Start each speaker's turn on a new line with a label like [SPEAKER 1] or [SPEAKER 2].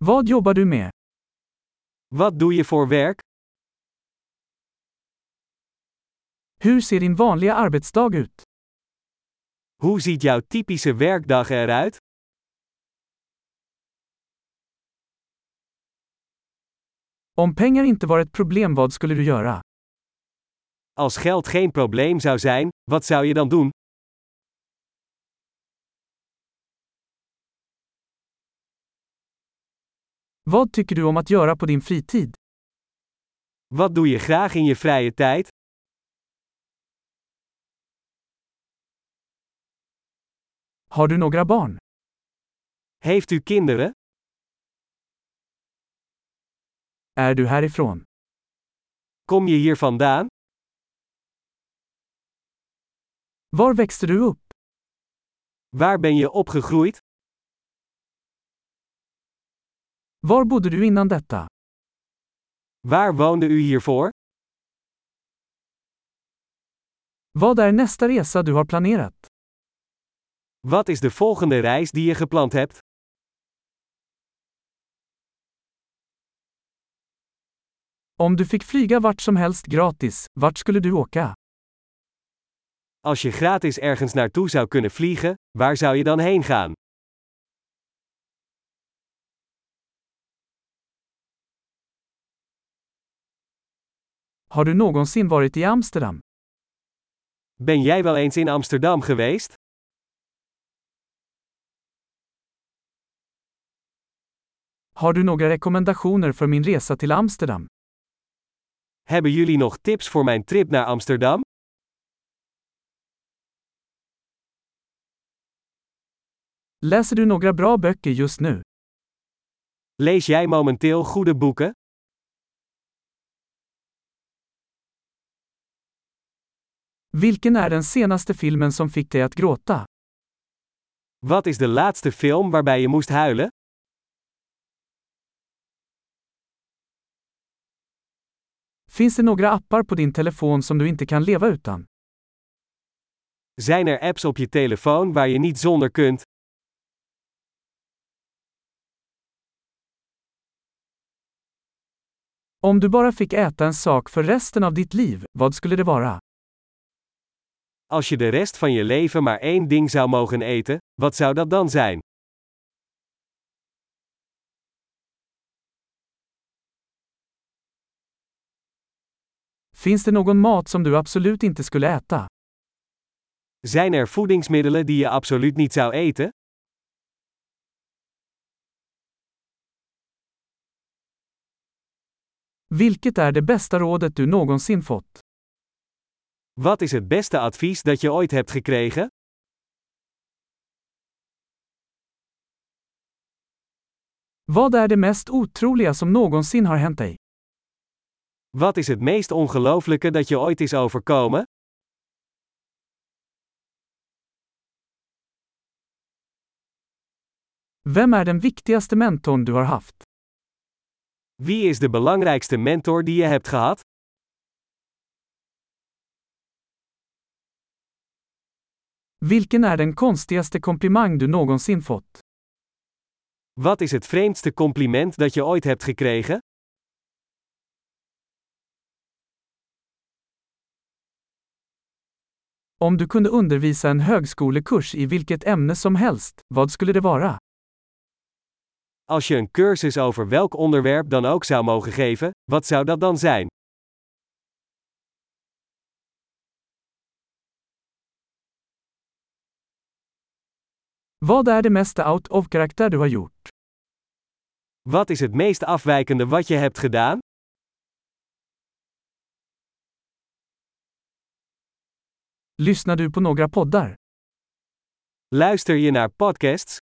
[SPEAKER 1] Vad jobbar du med?
[SPEAKER 2] Wat doe je voor werk?
[SPEAKER 1] Hur ser din vanliga arbetsdag ut?
[SPEAKER 2] Hoe ziet jouw typische werkdag eruit?
[SPEAKER 1] Om pengar inte var ett problem, vad skulle du göra?
[SPEAKER 2] Als geld geen probleem zou zijn, wat zou je dan doen?
[SPEAKER 1] Vad tycker du om att göra på din fritid?
[SPEAKER 2] Wat doe je graag in je vrije tijd?
[SPEAKER 1] Har du några barn?
[SPEAKER 2] Heeft u kinderen?
[SPEAKER 1] Är du härifrån?
[SPEAKER 2] Kom je hier vandaan?
[SPEAKER 1] Var växte du upp?
[SPEAKER 2] Waar ben je opgegroeid?
[SPEAKER 1] Var bodde du innan detta?
[SPEAKER 2] Waar woonde u hiervoor?
[SPEAKER 1] Vad är nästa resa du har planerat?
[SPEAKER 2] Wat is de volgende reis die je gepland hebt?
[SPEAKER 1] Om du fick flyga vart som helst gratis, vart skulle du åka?
[SPEAKER 2] Als je gratis ergens naartoe zou kunnen vliegen, waar zou je dan heen gaan?
[SPEAKER 1] Har du någonsin varit i Amsterdam?
[SPEAKER 2] Ben jij wel eens in Amsterdam geweest?
[SPEAKER 1] Har du några rekommendationer för min resa till Amsterdam?
[SPEAKER 2] Hebben jullie nog tips voor mijn trip naar Amsterdam?
[SPEAKER 1] Läser du några bra böcker just nu?
[SPEAKER 2] Lees jij momenteel goede boeken?
[SPEAKER 1] Vilken är den senaste filmen som fick dig att gråta?
[SPEAKER 2] Wat is de laatste film waarbij je moest huilen?
[SPEAKER 1] Finns det några appar på din telefon som du inte kan leva utan?
[SPEAKER 2] Zijn er apps op je telefoon waar je niet zonder kunt?
[SPEAKER 1] Om du bara fick äta en sak för resten av ditt liv, vad skulle det vara?
[SPEAKER 2] Als je de rest van je leven maar één ding zou mogen eten, wat zou dat dan zijn?
[SPEAKER 1] Finns det någon mat som du absolut inte skulle äta?
[SPEAKER 2] Zijn er voedingsmiddelen die je absoluut niet zou eten?
[SPEAKER 1] Vilket är det bästa rådet du någonsin fått?
[SPEAKER 2] Wat is het beste advies dat je ooit hebt gekregen?
[SPEAKER 1] Vad är det mest otroliga som någonsin har hänt dig?
[SPEAKER 2] Wat is het meest ongelooflijke dat je ooit is overkomen?
[SPEAKER 1] Vem är den viktigaste mentorn du har haft?
[SPEAKER 2] Wie is de belangrijkste mentor die je hebt gehad?
[SPEAKER 1] Vilken är den konstigaste komplimang du någonsin fått?
[SPEAKER 2] Wat is het vreemdste compliment dat je ooit hebt gekregen?
[SPEAKER 1] Om du kunde undervisa en högskolekurs i vilket ämne som helst, vad skulle det vara?
[SPEAKER 2] Als je een cursus over welk onderwerp dan ook zou mogen geven, wat zou dat dan zijn?
[SPEAKER 1] Vad är det mesta out of karaktär du har gjort?
[SPEAKER 2] Wat is het meest afwijkende wat je hebt gedaan?
[SPEAKER 1] Lyssnar du på några poddar?
[SPEAKER 2] Luister je naar podcasts?